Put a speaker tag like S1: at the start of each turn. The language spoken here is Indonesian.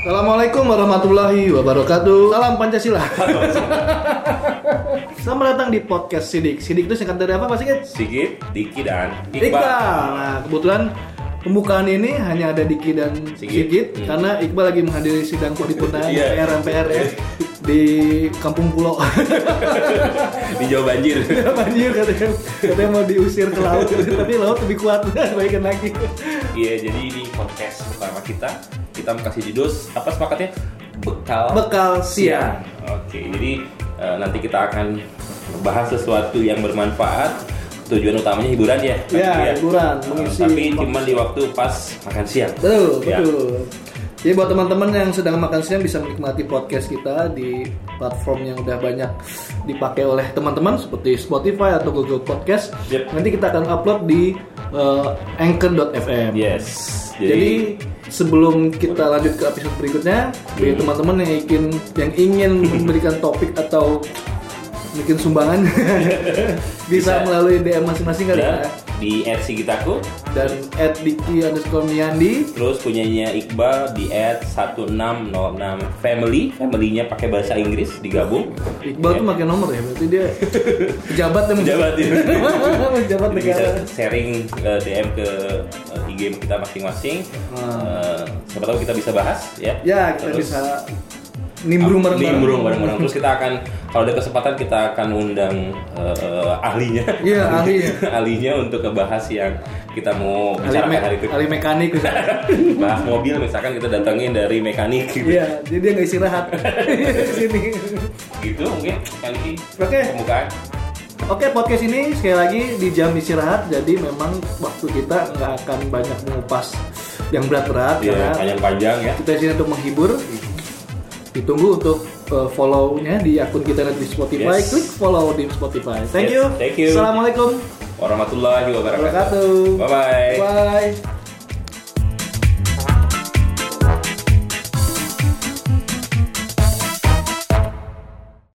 S1: Assalamualaikum warahmatullahi wabarakatuh. Salam Pancasila. Selamat datang di podcast Sidik. Sidik itu singkat dari apa Pak Sigit?
S2: Sigit, Diki dan Iqbal.
S1: Iqbal. Nah, kebetulan pembukaan ini hanya ada Diki dan Sigit,
S2: Sigit. Hmm.
S1: karena Iqbal lagi menghadiri sidang kok di
S2: Iya.
S1: MPR MPR ya di Kampung Pulau.
S2: Di Jawa Banjir.
S1: Banjir katanya, katanya mau diusir ke laut, tapi laut lebih kuat, baikin lagi.
S2: Iya, jadi ini podcast pertama kita. Kita kasih judul apa sepakatnya? Bekal.
S1: Bekal siang.
S2: Oke, jadi eh, nanti kita akan bahas sesuatu yang bermanfaat. Tujuan utamanya hiburan ya.
S1: Ya,
S2: Tapi
S1: hiburan,
S2: Eh,
S1: mengisi
S2: Tapi
S1: waktu.
S2: cuma di waktu pas makan siang.
S1: Betul,
S2: Ya.
S1: betul. Jadi buat teman-teman yang sedang makan siang bisa menikmati podcast kita di platform yang udah banyak dipakai oleh teman-teman seperti Spotify atau Google Podcast.
S2: Yep.
S1: Nanti kita akan upload di eh, anchor.fm.
S2: Yes.
S1: Jadi, sebelum kita lanjut ke episode berikutnya, bagi
S2: Hmm.
S1: teman-teman yang ingin yang ingin memberikan topik atau bikin sumbangan bisa,
S2: Bisa.
S1: melalui DM masing-masing kali
S2: dan
S1: ya.
S2: di at Sigitaku
S1: Dan at Diki underscore Miandi
S2: Terus punyanya Iqbal di at 1606 family Familynya pakai bahasa Inggris digabung
S1: Iqbal tuh pakai nomor ya, berarti dia pejabat yang
S2: Pejabat, ya.
S1: pejabat
S2: Jadi
S1: negara.
S2: bisa sharing eh, DM ke eh, IG kita masing-masing Eh, Siapa tahu kita bisa bahas ya
S1: Ah. Ya, kita
S2: Terus,
S1: bisa nimbrung
S2: ah,
S1: bareng-bareng.
S2: nimbrung bareng-bareng. Terus kita akan kalau ada kesempatan kita akan undang eh, eh, ahlinya
S1: Iya, ahlinya.
S2: ahlinya untuk ngebahas yang kita mau
S1: Ali,
S2: bicarakan
S1: me-
S2: hari itu
S1: Ali mekanik misalnya.
S2: bahas mobil misalkan kita datangin dari mekanik gitu,
S1: Iya, jadi dia nggak istirahat di sini.
S2: gitu mungkin kali ini
S1: Oke.
S2: pembukaan
S1: Oke, podcast ini sekali lagi di jam istirahat, jadi memang waktu kita nggak akan banyak mengupas yang berat-berat
S2: Iya,
S1: karena
S2: panjang-panjang ya.
S1: kita di sini untuk menghibur. Ditunggu untuk uh, follow-nya di akun kita di Spotify.
S2: Yes.
S1: Klik follow di Spotify. Thank
S2: Yes,
S1: you.
S2: thank you.
S1: Assalamualaikum.
S2: Warahmatullahi
S1: wabarakatuh.
S2: wabarakatuh. Bye-bye.
S1: Bye.